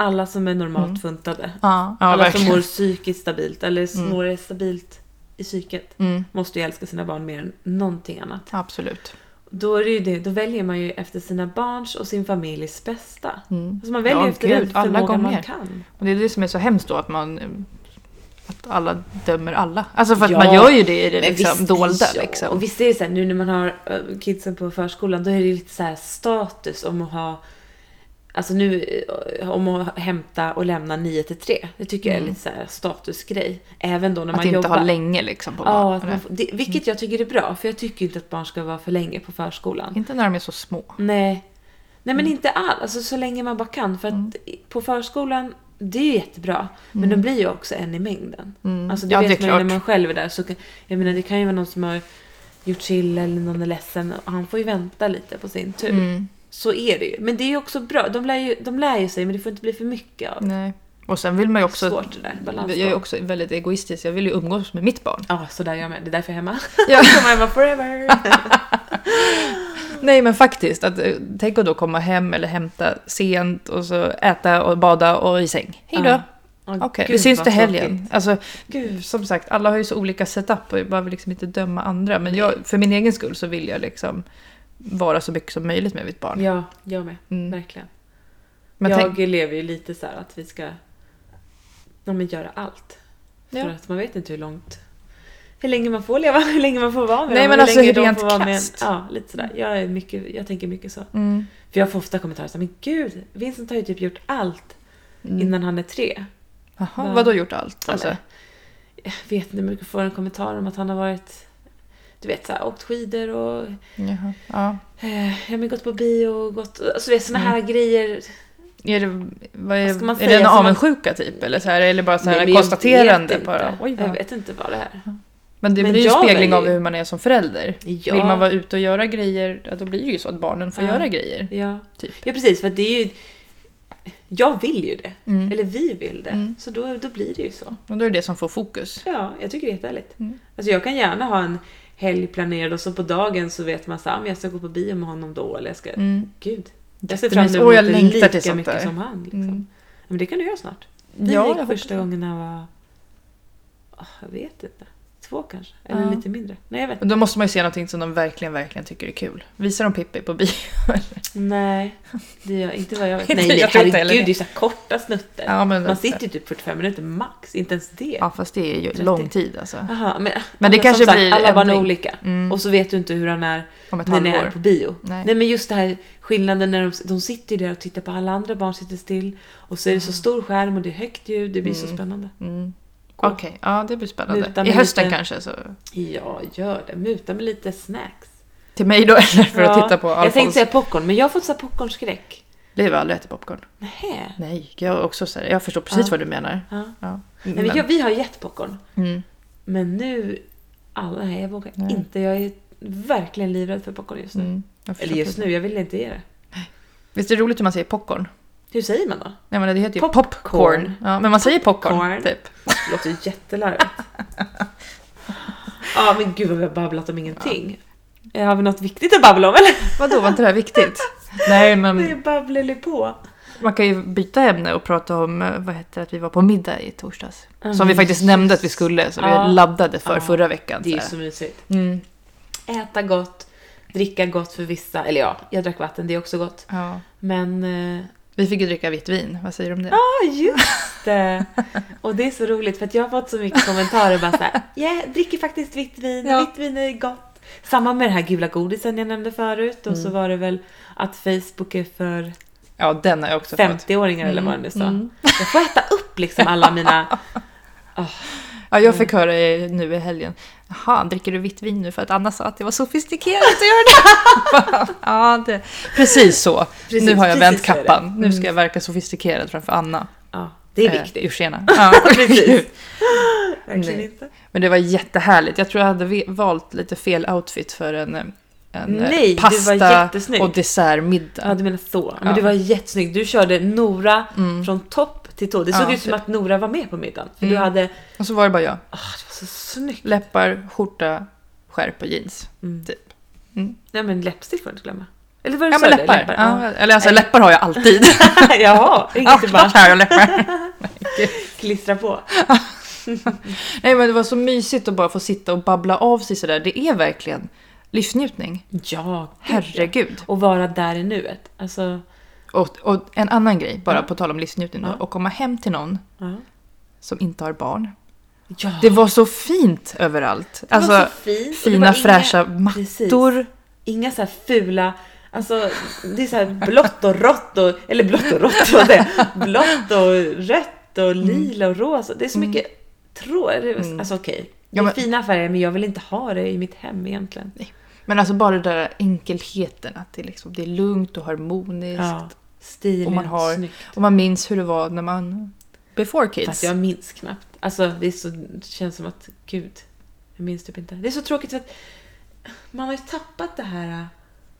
Speaker 1: alla som är normalt funtade.
Speaker 2: Mm. Ja, ja
Speaker 1: alla som mår
Speaker 2: verkligen.
Speaker 1: psykiskt stabilt eller mår stabilt i psyket
Speaker 2: Mm,
Speaker 1: måste ju älska sina barn mer än någonting annat.
Speaker 2: absolut.
Speaker 1: Då, är det ju det, då väljer man ju efter sina barns och sin familjs bästa.
Speaker 2: Mm.
Speaker 1: Alltså man väljer
Speaker 2: Ja,
Speaker 1: efter
Speaker 2: gud,
Speaker 1: den
Speaker 2: alla
Speaker 1: förmåga
Speaker 2: gånger.
Speaker 1: man kan.
Speaker 2: Och det är det som är så hemskt då, att man... eh, Att alla dömer alla. Alltså för att
Speaker 1: Ja,
Speaker 2: man gör ju det i det
Speaker 1: Men
Speaker 2: liksom, dolda.
Speaker 1: ja.
Speaker 2: Liksom.
Speaker 1: Och visst är det så här, nu när man har eh, kidsen på förskolan, då är det ju lite så här status om att ha Alltså nu, eh, om att hämta och lämna 9 till 3. Det tycker jag är lite så här statusgrej. Även då när
Speaker 2: Mm. Att
Speaker 1: man
Speaker 2: inte
Speaker 1: jobbar.
Speaker 2: ha länge liksom på
Speaker 1: ja, att man
Speaker 2: barnen.
Speaker 1: får, det, vilket jag tycker är bra, för jag tycker inte att barn ska vara för länge på förskolan.
Speaker 2: Inte när de är så små.
Speaker 1: Nej. Nej
Speaker 2: Mm.
Speaker 1: men inte alls, alltså så länge man bara kan. För att i- på förskolan, det är ju jättebra. Men de blir ju också en i mängden.
Speaker 2: Mm.
Speaker 1: Alltså det
Speaker 2: Ja,
Speaker 1: vet
Speaker 2: det är
Speaker 1: man ju när
Speaker 2: klart.
Speaker 1: man själv är där. Så kan, jag menar det kan ju vara någon som har gjort chill eller någon är ledsen. Och han får ju vänta lite på sin tur.
Speaker 2: Mm.
Speaker 1: Så är det ju. Men det är ju också bra. De lär ju, de lär ju sig men det får inte bli för mycket av det.
Speaker 2: Nej. Och sen vill man ju också...
Speaker 1: Svårt det där, balans.
Speaker 2: Jag är också väldigt egoistisk, jag vill ju umgås med mitt barn.
Speaker 1: Ja, så där jag med. Det är därför jag är hemma.
Speaker 2: Ja.
Speaker 1: Kommer hemma forever. Mm.
Speaker 2: Nej men faktiskt, att, eh, tänk att då komma hem eller hämta sent och så äta och bada och i säng. Hej då!
Speaker 1: Ja. Åh,
Speaker 2: Ah. Okej,
Speaker 1: Ah, gud,
Speaker 2: vi syns
Speaker 1: vad
Speaker 2: till helgen.
Speaker 1: tråkigt.
Speaker 2: Alltså,
Speaker 1: Gud.
Speaker 2: som sagt, alla har ju så olika setup och jag behöver liksom inte döma andra. Men jag, för min egen skull så vill jag liksom vara så mycket som möjligt med mitt barn.
Speaker 1: Ja, jag med.
Speaker 2: Mm.
Speaker 1: Verkligen.
Speaker 2: Men
Speaker 1: jag
Speaker 2: tänk,
Speaker 1: lever ju lite så här att vi ska ja, men göra allt. För
Speaker 2: Ja.
Speaker 1: att man vet inte hur långt... Hur länge man får leva, hur länge man får vara med
Speaker 2: Nej,
Speaker 1: dem,
Speaker 2: men
Speaker 1: hur
Speaker 2: alltså
Speaker 1: länge de
Speaker 2: rent
Speaker 1: får vara med en.
Speaker 2: krasst.
Speaker 1: Ja, lite sådär. Jag, är mycket, jag tänker mycket så.
Speaker 2: mm,
Speaker 1: För jag får ofta kommentarer såhär, men gud, Vincent har ju typ gjort allt
Speaker 2: Mm.
Speaker 1: innan han är tre.
Speaker 2: aha,
Speaker 1: Va-
Speaker 2: vadå gjort allt?
Speaker 1: Ja,
Speaker 2: Alltså,
Speaker 1: men- Jag vet inte, men jag får en kommentar om att han har varit... Du vet såhär, åkt skidor och
Speaker 2: jaha, ja. Mm.
Speaker 1: eh, ja, men gått på bio och gått... Alltså du vet såna här grejer.
Speaker 2: Är det, vad är,
Speaker 1: Vad ska man
Speaker 2: är
Speaker 1: säga
Speaker 2: det en
Speaker 1: som man-
Speaker 2: avundsjuka typ? Eller, så här, eller bara så här
Speaker 1: Nej, men jag
Speaker 2: konstaterande?
Speaker 1: vet
Speaker 2: Bara,
Speaker 1: inte.
Speaker 2: Oj, vad-
Speaker 1: jag vet inte vad det är.
Speaker 2: Men det
Speaker 1: Men
Speaker 2: blir ju
Speaker 1: jag
Speaker 2: spegling av
Speaker 1: väljer-
Speaker 2: hur man är som förälder.
Speaker 1: Ja.
Speaker 2: Vill man vara ute och göra grejer, ja, då blir det ju så att barnen får
Speaker 1: Ja.
Speaker 2: göra grejer.
Speaker 1: Ja.
Speaker 2: Typ.
Speaker 1: ja, precis. För att det är ju... Jag vill ju det.
Speaker 2: Mm.
Speaker 1: Eller vi vill det.
Speaker 2: Mm.
Speaker 1: Så då, då blir det ju så.
Speaker 2: Och då är det det som får fokus.
Speaker 1: Ja, jag tycker det är jättehärligt.
Speaker 2: Mm.
Speaker 1: Alltså jag kan gärna ha en helg planerad och så på dagen så vet man så här, "Ah, men jag ska gå på bio med honom då eller jag ska...
Speaker 2: Mm.
Speaker 1: Gud. Jag ser fram
Speaker 2: Jättemys-
Speaker 1: emot
Speaker 2: Åh, jag
Speaker 1: det
Speaker 2: längtar
Speaker 1: lika
Speaker 2: till sånt
Speaker 1: mycket
Speaker 2: där.
Speaker 1: som han. Liksom.
Speaker 2: Mm.
Speaker 1: Men det kan du göra snart. Vi
Speaker 2: Ja, jag
Speaker 1: gick
Speaker 2: hoppas
Speaker 1: första gången när jag var... ah, Jag vet inte. Två kanske. Eller
Speaker 2: Ja.
Speaker 1: lite mindre. Nej, jag vet inte.
Speaker 2: Men då måste man ju se någonting som de verkligen, verkligen tycker är kul. Visar de Pippi på bio?
Speaker 1: Nej, det gör inte vad jag vet.
Speaker 2: Inte-
Speaker 1: Nej,
Speaker 2: jag
Speaker 1: nej
Speaker 2: tror inte
Speaker 1: herregud,
Speaker 2: heller
Speaker 1: det är
Speaker 2: det.
Speaker 1: ju så här korta snutter.
Speaker 2: Ja, men, alltså,
Speaker 1: Man sitter ju typ 45 minuter max, inte ens det.
Speaker 2: Ja, fast det är ju
Speaker 1: 30.
Speaker 2: lång tid alltså.
Speaker 1: Aha, men,
Speaker 2: Men det
Speaker 1: som
Speaker 2: kanske blir
Speaker 1: Alla barn är
Speaker 2: ändring.
Speaker 1: olika.
Speaker 2: Mm.
Speaker 1: Och så vet du inte hur han är
Speaker 2: Om ett
Speaker 1: när ni är
Speaker 2: halvår.
Speaker 1: på bio.
Speaker 2: Nej.
Speaker 1: Nej. men just det här skillnaden när de, de sitter ju där och tittar på alla andra barn sitter still. Och så är det så stor skärm och det är högt ljud, det blir så spännande.
Speaker 2: Mm. Okej, ja det blir
Speaker 1: Luta
Speaker 2: spännande. I
Speaker 1: mig
Speaker 2: hösten
Speaker 1: lite.
Speaker 2: kanske. Så.
Speaker 1: Ja, gör det. Muta med lite snacks.
Speaker 2: Till mig då eller för att
Speaker 1: Ja,
Speaker 2: titta på
Speaker 1: Jag tänkte
Speaker 2: Alfons.
Speaker 1: säga popcorn, men jag har fått så här popcornskräck.
Speaker 2: Vi har aldrig ätit popcorn.
Speaker 1: Nähä.
Speaker 2: Nej, jag, också, så här, jag förstår precis
Speaker 1: Ja.
Speaker 2: vad du menar.
Speaker 1: Ja.
Speaker 2: Ja.
Speaker 1: Nej, men jag, vi har gett popcorn.
Speaker 2: mm.
Speaker 1: Men nu... Alla, nej, jag vågar
Speaker 2: Nej.
Speaker 1: inte. Jag är verkligen livrädd för popcorn just nu.
Speaker 2: Mm. Jag förstår
Speaker 1: Eller just
Speaker 2: precis.
Speaker 1: nu, jag vill inte ge det.
Speaker 2: Visst är det roligt hur man säger popcorn?
Speaker 1: Hur säger man då?
Speaker 2: Nej, men det heter ju popcorn.
Speaker 1: Popcorn.
Speaker 2: Ja, men man säger popcorn,
Speaker 1: Popcorn.
Speaker 2: typ.
Speaker 1: Det låter ju jättelarvigt. Ja, men gud vad vi har babblat om ingenting. Eh, Har vi något viktigt att babbla om eller?
Speaker 2: Vadå, var inte det här viktigt? Nej, men
Speaker 1: Vi babblar på.
Speaker 2: Man kan ju byta ämne och prata om eh, vad heter det, att vi var på middag i torsdags. Som vi faktiskt nämnde att vi skulle, som
Speaker 1: Ja.
Speaker 2: vi laddade för
Speaker 1: Ja.
Speaker 2: förra veckan.
Speaker 1: Det är ju
Speaker 2: så
Speaker 1: så mysigt.
Speaker 2: här. Mm.
Speaker 1: Äta gott, dricka gott för vissa. Eller ja, jag drack vatten, det är också gott.
Speaker 2: Ja.
Speaker 1: Men... eh,
Speaker 2: Vi fick ju dricka vitt vin, vad säger du om det?
Speaker 1: Ja, just det. Och det är så roligt för att jag har fått så mycket kommentarer bara såhär, jag dricker faktiskt vitt vin,
Speaker 2: Ja.
Speaker 1: vitt vin är gott. Samma med den här gula godisen jag nämnde förut och
Speaker 2: Mm.
Speaker 1: så var det väl att Facebook är för
Speaker 2: Ja, den har jag också fått.
Speaker 1: 50-åringar eller vad det nu sa.
Speaker 2: Mm.
Speaker 1: Jag får äta upp liksom alla mina...
Speaker 2: Ja, jag
Speaker 1: Mm.
Speaker 2: fick höra eh, nu i helgen. Jaha, dricker du vitt vin nu för att Anna sa att det var sofistikerat att göra det? ja, det, precis så.
Speaker 1: Precis,
Speaker 2: nu har jag vänt
Speaker 1: precis så är det.
Speaker 2: kappan. Nu ska jag verka sofistikerad framför Anna.
Speaker 1: Ja, det är
Speaker 2: Eh,
Speaker 1: viktigt.
Speaker 2: Eugenia. Ja,
Speaker 1: Precis. Verkligen
Speaker 2: nej.
Speaker 1: inte.
Speaker 2: Men det var jättehärligt. Jag tror jag hade ve- valt lite fel outfit för en, en eh,
Speaker 1: Nej, du var
Speaker 2: pasta
Speaker 1: jättesnygg.
Speaker 2: och dessertmiddag.
Speaker 1: Ja, du menar så. Men
Speaker 2: Ja. Mm.
Speaker 1: du var jättesnygg. Du körde Nora från topp till tå. Det såg
Speaker 2: Ja,
Speaker 1: ut som
Speaker 2: typ.
Speaker 1: att Nora var med på middagen. För
Speaker 2: Mm.
Speaker 1: du hade...
Speaker 2: Och så var det bara jag.
Speaker 1: ah det var så snyggt.
Speaker 2: Läppar, skjorta, skärp och jeans.
Speaker 1: Mm.
Speaker 2: Typ.
Speaker 1: Nej men läppstift får du inte glömma. Eller var det
Speaker 2: Ja,
Speaker 1: så?
Speaker 2: men
Speaker 1: eller?
Speaker 2: läppar. Ja, eller alltså, läppar har jag alltid.
Speaker 1: Ja. Jaha,
Speaker 2: Ja,
Speaker 1: inget bara
Speaker 2: klart här och läppar.
Speaker 1: klistra på.
Speaker 2: Nej, men det var så mysigt att bara få sitta och babbla av sig sådär. Det är verkligen livsnjutning.
Speaker 1: Ja, herregud.
Speaker 2: Herregud.
Speaker 1: Och vara där i nuet. Alltså,
Speaker 2: Och, och en annan grej, bara på tal om livsnjutning, då,
Speaker 1: Ja.
Speaker 2: att komma hem till någon
Speaker 1: ja.
Speaker 2: som inte har barn.
Speaker 1: ja.
Speaker 2: Det var så fint överallt.
Speaker 1: Det var
Speaker 2: alltså,
Speaker 1: så fint. och det var
Speaker 2: Fina fräscha mattor.
Speaker 1: Inga, inga så här fula, alltså det är så här blått och rått och, eller blått och rått var det. Blått och rött och
Speaker 2: Mm.
Speaker 1: lila och rosa. Det är så mycket tråd. Alltså okej, det
Speaker 2: Ja,
Speaker 1: är
Speaker 2: men-
Speaker 1: fina färger men jag vill inte ha det i mitt hem egentligen.
Speaker 2: Men alltså bara den där enkelheten, att det, liksom, det är lugnt och harmoniskt.
Speaker 1: Ja, stilen,
Speaker 2: Och man har-
Speaker 1: snyggt.
Speaker 2: Och man minns hur det var när man... Before kids.
Speaker 1: Fast jag minns knappt. Alltså det, är så, det känns som att, gud, jag minns typ inte. Det är så tråkigt för att man har ju tappat det här,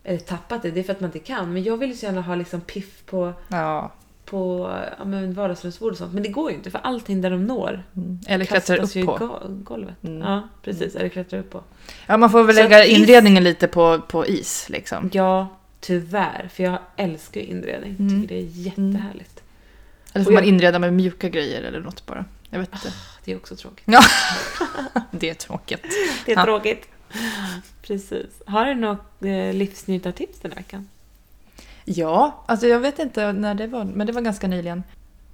Speaker 1: eller tappat det, det är för att man inte kan. Men jag vill ju så gärna ha liksom piff på,
Speaker 2: Ja.
Speaker 1: på ja, men vardagsrumsbord och sånt. Men det går ju inte för allting där de når
Speaker 2: Mm. Eller klättrar upp
Speaker 1: ju i
Speaker 2: på.
Speaker 1: go- golvet.
Speaker 2: Mm.
Speaker 1: Ja, precis. Eller klättrar upp på.
Speaker 2: Ja, man får väl
Speaker 1: Så
Speaker 2: lägga
Speaker 1: att is-
Speaker 2: inredningen lite på, på is liksom.
Speaker 1: Ja, tyvärr. För jag älskar ju inredning. Jag
Speaker 2: Mm.
Speaker 1: tycker det är jättehärligt.
Speaker 2: Eller får
Speaker 1: Och
Speaker 2: man
Speaker 1: jag-
Speaker 2: inreda med mjuka grejer eller något bara. Jag vet inte.
Speaker 1: Det är också tråkigt.
Speaker 2: Det är tråkigt.
Speaker 1: Det är
Speaker 2: Ja.
Speaker 1: tråkigt. Precis. Har du något eh, livsnjutartips den här veckan?
Speaker 2: Ja, alltså jag vet inte när det var, men det var ganska nyligen.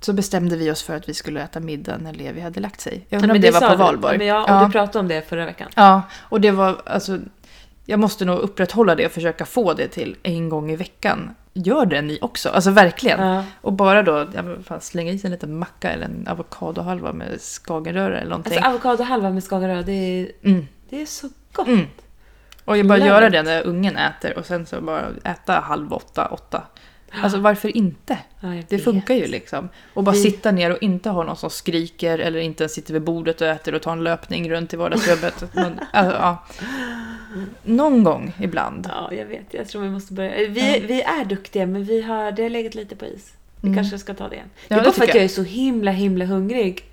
Speaker 2: Så bestämde vi oss för att vi skulle äta middag när Levi hade lagt sig. Jag
Speaker 1: Ja,
Speaker 2: undrar om
Speaker 1: men
Speaker 2: det
Speaker 1: sa
Speaker 2: var på
Speaker 1: du.
Speaker 2: valborg.
Speaker 1: Ja, men jag, och
Speaker 2: Ja.
Speaker 1: du pratade om det förra veckan.
Speaker 2: Ja, och det var alltså... Jag måste nog upprätthålla det och försöka få det till en gång i veckan. Gör det ni också, alltså verkligen.
Speaker 1: Ja.
Speaker 2: Och bara då ja, men fan, slänga i sig en liten macka eller en avokadohalva med skagenröra eller någonting.
Speaker 1: Alltså avokadohalva med skagenröd, det är,
Speaker 2: Mm.
Speaker 1: det är så gott.
Speaker 2: Mm. Och jag bara
Speaker 1: Love
Speaker 2: göra
Speaker 1: it.
Speaker 2: det när ungen äter och sen så bara äta halv åtta, åtta. Alltså varför inte?
Speaker 1: Ja, jag
Speaker 2: Det
Speaker 1: vet.
Speaker 2: funkar ju liksom. Och bara
Speaker 1: Vi-
Speaker 2: sitta ner och inte ha någon som skriker eller inte ens sitter vid bordet och äter och tar en löpning runt i vardagsrummet. Att man- alltså, ja. Någon gång ibland.
Speaker 1: Ja, jag vet. Jag tror vi måste börja. Vi, vi är duktiga, men vi har, det har legat lite på is. Vi
Speaker 2: Mm.
Speaker 1: kanske ska ta det igen. Det
Speaker 2: Ja,
Speaker 1: är
Speaker 2: det
Speaker 1: bara för
Speaker 2: tycker
Speaker 1: att
Speaker 2: jag.
Speaker 1: jag är så himla, himla hungrig.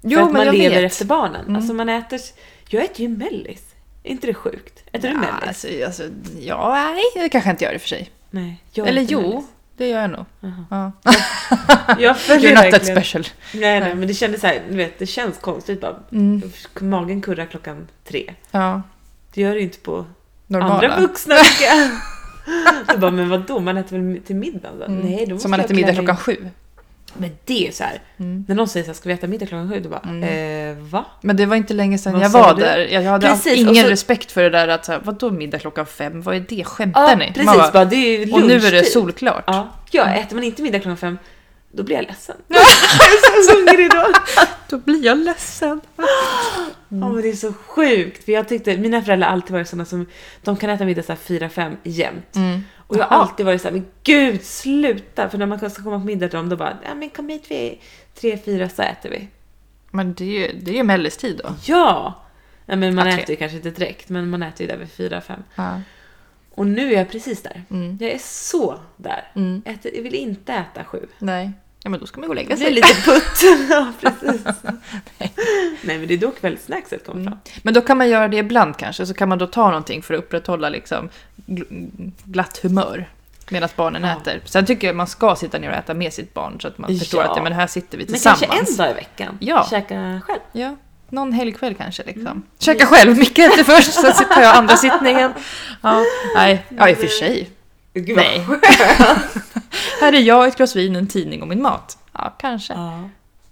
Speaker 2: Jo,
Speaker 1: för att
Speaker 2: men
Speaker 1: man
Speaker 2: jag
Speaker 1: lever
Speaker 2: vet.
Speaker 1: efter barnen.
Speaker 2: Mm.
Speaker 1: Alltså man äter... Jag äter ju mellis. Är inte det sjukt? Äter du
Speaker 2: Ja,
Speaker 1: mellis?
Speaker 2: alltså, alltså, ja, nej, det kanske jag inte gör i och för sig.
Speaker 1: Nej. Jag
Speaker 2: Eller
Speaker 1: äter
Speaker 2: jo,
Speaker 1: mellis.
Speaker 2: det gör jag nog.
Speaker 1: Jaha.
Speaker 2: Ja.
Speaker 1: Jag följer
Speaker 2: You're not that
Speaker 1: verkligen.
Speaker 2: special.
Speaker 1: Nej, nej,
Speaker 2: Nej.
Speaker 1: men det kändes så här, du vet, det känns konstigt bara.
Speaker 2: Mm,
Speaker 1: Magen kurrar klockan tre.
Speaker 2: ja,
Speaker 1: Det gör det ju inte på
Speaker 2: normala.
Speaker 1: andra vuxna tycker jag. Så bara, men vadå, man äter väl till middag? Så,
Speaker 2: Mm.
Speaker 1: Nej, då måste
Speaker 2: Som man
Speaker 1: jag
Speaker 2: äter middag
Speaker 1: klä mig-
Speaker 2: klockan sju.
Speaker 1: Men det är så här,
Speaker 2: Mm.
Speaker 1: när någon säger så här, ska vi äta middag klockan sju? Då bara, eh, va?
Speaker 2: Men det var inte länge sedan
Speaker 1: Vad
Speaker 2: jag
Speaker 1: sa
Speaker 2: var
Speaker 1: du?
Speaker 2: där. Jag hade
Speaker 1: Precis, och
Speaker 2: ingen
Speaker 1: så-
Speaker 2: respekt för det där att så här, vadå middag klockan fem? Vad är det? Skämtar
Speaker 1: Ja,
Speaker 2: ni? Man
Speaker 1: precis,
Speaker 2: bara,
Speaker 1: bara, det är ju
Speaker 2: och nu
Speaker 1: lunchtid.
Speaker 2: är det solklart.
Speaker 1: Ja, ja, äter man inte middag klockan fem, då blir jag ledsen. jag är så hungrig då.
Speaker 2: Då blir jag ledsen.
Speaker 1: Ja, men det är så sjukt. För jag tyckte, mina föräldrar har alltid varit sådana som, de kan äta middag så här fyra, fem jämt.
Speaker 2: Mm.
Speaker 1: Och jag har
Speaker 2: Jaha.
Speaker 1: alltid varit så här, men gud sluta! För när man ska komma på middag till dem, då bara, ja men kom hit vid tre, fyra så äter vi.
Speaker 2: Men det är ju, det är ju mellistid då.
Speaker 1: Ja! Nej, men man
Speaker 2: Ja, tre.
Speaker 1: äter ju kanske inte direkt, men man äter ju där vid fyra, fem.
Speaker 2: Ja.
Speaker 1: Och nu är jag precis där.
Speaker 2: Mm.
Speaker 1: Jag är så där.
Speaker 2: Mm.
Speaker 1: Jag, äter, jag vill inte äta sju.
Speaker 2: Nej. Ja, men då ska man gå och lägga
Speaker 1: Jag blir
Speaker 2: sig.
Speaker 1: lite putt. ja, precis. Mm. Nej, men det är då kvällssnackset kommer fram.
Speaker 2: Men då kan man göra det ibland kanske, så kan man då ta någonting för att upprätthålla liksom, gl- glatt humör medan barnen
Speaker 1: Ja.
Speaker 2: äter. Sen tycker jag man ska sitta ner och äta med sitt barn så att man
Speaker 1: Ja.
Speaker 2: förstår att ja, men här sitter vi
Speaker 1: Men kanske en
Speaker 2: tillsammans.
Speaker 1: dag i veckan.
Speaker 2: Ja.
Speaker 1: Käka själv.
Speaker 2: Ja, någon helgkväll kanske. Liksom. Käka själv, Micke äter först, sen så tar jag andra sittningen. Ja, nej, ja, i och för sig.
Speaker 1: Gud, vad
Speaker 2: Nej.
Speaker 1: skönt.
Speaker 2: här är jag, ett glas vin, en tidning och min mat. Ja, kanske.
Speaker 1: Ja.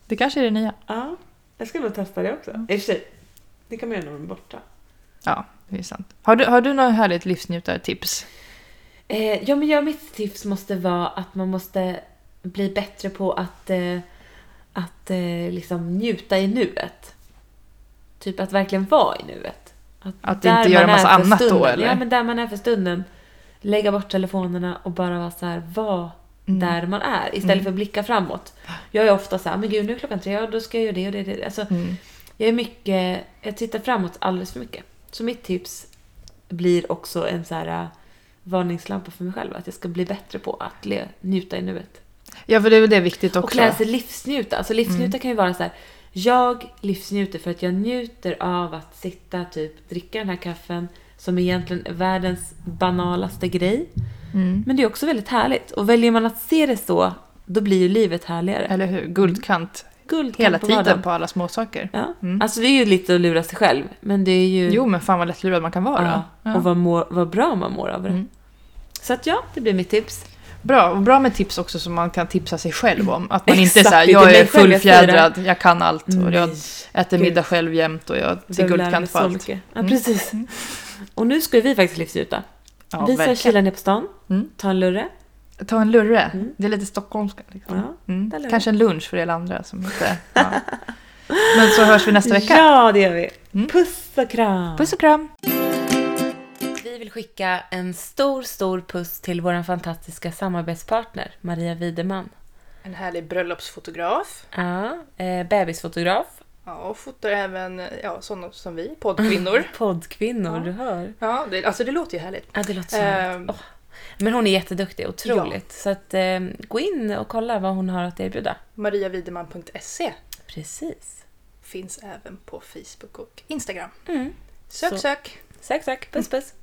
Speaker 2: Det kanske är det nya.
Speaker 1: ja. Jag ska nog testa det också. I och för sig, det kan man göra när man är borta.
Speaker 2: Ja, det är sant. Har du, har du några härligt livsnjutartips?
Speaker 1: Eh, ja, men jag, mitt tips måste vara att man måste bli bättre på att, eh, att eh, liksom njuta i nuet. Typ att verkligen vara i nuet.
Speaker 2: Att
Speaker 1: där
Speaker 2: inte göra
Speaker 1: man är
Speaker 2: massa
Speaker 1: för
Speaker 2: annat då,
Speaker 1: stunden,
Speaker 2: eller?
Speaker 1: Ja, men där man är för stunden. Lägga bort telefonerna och bara vara så här, vara
Speaker 2: Mm.
Speaker 1: där man är istället för att blicka framåt. Jag är ofta så här, men gud nu är klockan tre och då ska jag göra det och det. och det. Alltså,
Speaker 2: Mm.
Speaker 1: jag är mycket, jag tittar framåt alldeles för mycket. Så mitt tips blir också en så här äh, varningslampa för mig själv. Att jag ska bli bättre på att le, njuta i nuet.
Speaker 2: Ja, för det är väl det viktigt också.
Speaker 1: Och lära sig livsnjuta. Alltså livsnjuta
Speaker 2: Mm.
Speaker 1: kan ju vara så här. Jag livsnjuter för att jag njuter av att sitta typ dricka den här kaffen som egentligen är världens banalaste grej.
Speaker 2: Mm.
Speaker 1: Men det är också väldigt härligt. Och väljer man att se det så, då blir ju livet härligare.
Speaker 2: Eller hur? Guldkant
Speaker 1: Guldkant
Speaker 2: hela
Speaker 1: på
Speaker 2: tiden
Speaker 1: vardagen.
Speaker 2: på alla småsaker.
Speaker 1: Ja.
Speaker 2: Mm.
Speaker 1: Alltså det är ju lite att lura sig själv. Men det är ju...
Speaker 2: Jo, men fan vad lättlurad man kan vara.
Speaker 1: Ja,
Speaker 2: Ja.
Speaker 1: Och vad, mår, vad bra man mår av det.
Speaker 2: Mm.
Speaker 1: Så att ja, det blir mitt tips.
Speaker 2: Bra, och bra med tips också som man kan tipsa sig själv om. Att man inte är
Speaker 1: Exakt,
Speaker 2: såhär,
Speaker 1: det är
Speaker 2: jag
Speaker 1: mig
Speaker 2: är
Speaker 1: själv jag säger det.
Speaker 2: fullfjädrad, jag kan allt och jag äter
Speaker 1: Gud.
Speaker 2: middag själv jämt och jag
Speaker 1: Jag
Speaker 2: till
Speaker 1: behöver lära mig
Speaker 2: guldkant
Speaker 1: så
Speaker 2: på allt. Mm.
Speaker 1: mycket. Ja, precis. Och nu ska ju vi faktiskt livsnjuta.
Speaker 2: Ja,
Speaker 1: vi ska
Speaker 2: verkligen.
Speaker 1: kila ner på stan,
Speaker 2: Mm.
Speaker 1: ta en lurre.
Speaker 2: Ta en lurre,
Speaker 1: Mm.
Speaker 2: det är lite stockholmska. Liksom.
Speaker 1: Ja.
Speaker 2: Mm.
Speaker 1: där lurre.
Speaker 2: Kanske en lunch för er andra som inte... Ja. Men så hörs vi nästa vecka.
Speaker 1: ja, det gör vi.
Speaker 2: Mm.
Speaker 1: Puss och kram!
Speaker 2: Puss och kram!
Speaker 1: Vi vill skicka en stor, stor puss till vår fantastiska samarbetspartner Maria Wideman.
Speaker 2: En härlig bröllopsfotograf.
Speaker 1: Ja, eh, bebisfotograf.
Speaker 2: Ja, och fotar även ja, sådana som vi, poddkvinnor.
Speaker 1: Poddkvinnor,
Speaker 2: Ja.
Speaker 1: du hör.
Speaker 2: Ja, det, alltså det låter ju härligt.
Speaker 1: Ja, det låter så
Speaker 2: Ehm,
Speaker 1: härligt. Åh. Men hon är jätteduktig, otroligt. Så att, eh, gå in och kolla vad hon har att erbjuda.
Speaker 2: Mariavideman.se
Speaker 1: Precis.
Speaker 2: finns även på Facebook och Instagram.
Speaker 1: Mm.
Speaker 2: Sök,
Speaker 1: Så-
Speaker 2: sök!
Speaker 1: Sök, sök. Puss, puss.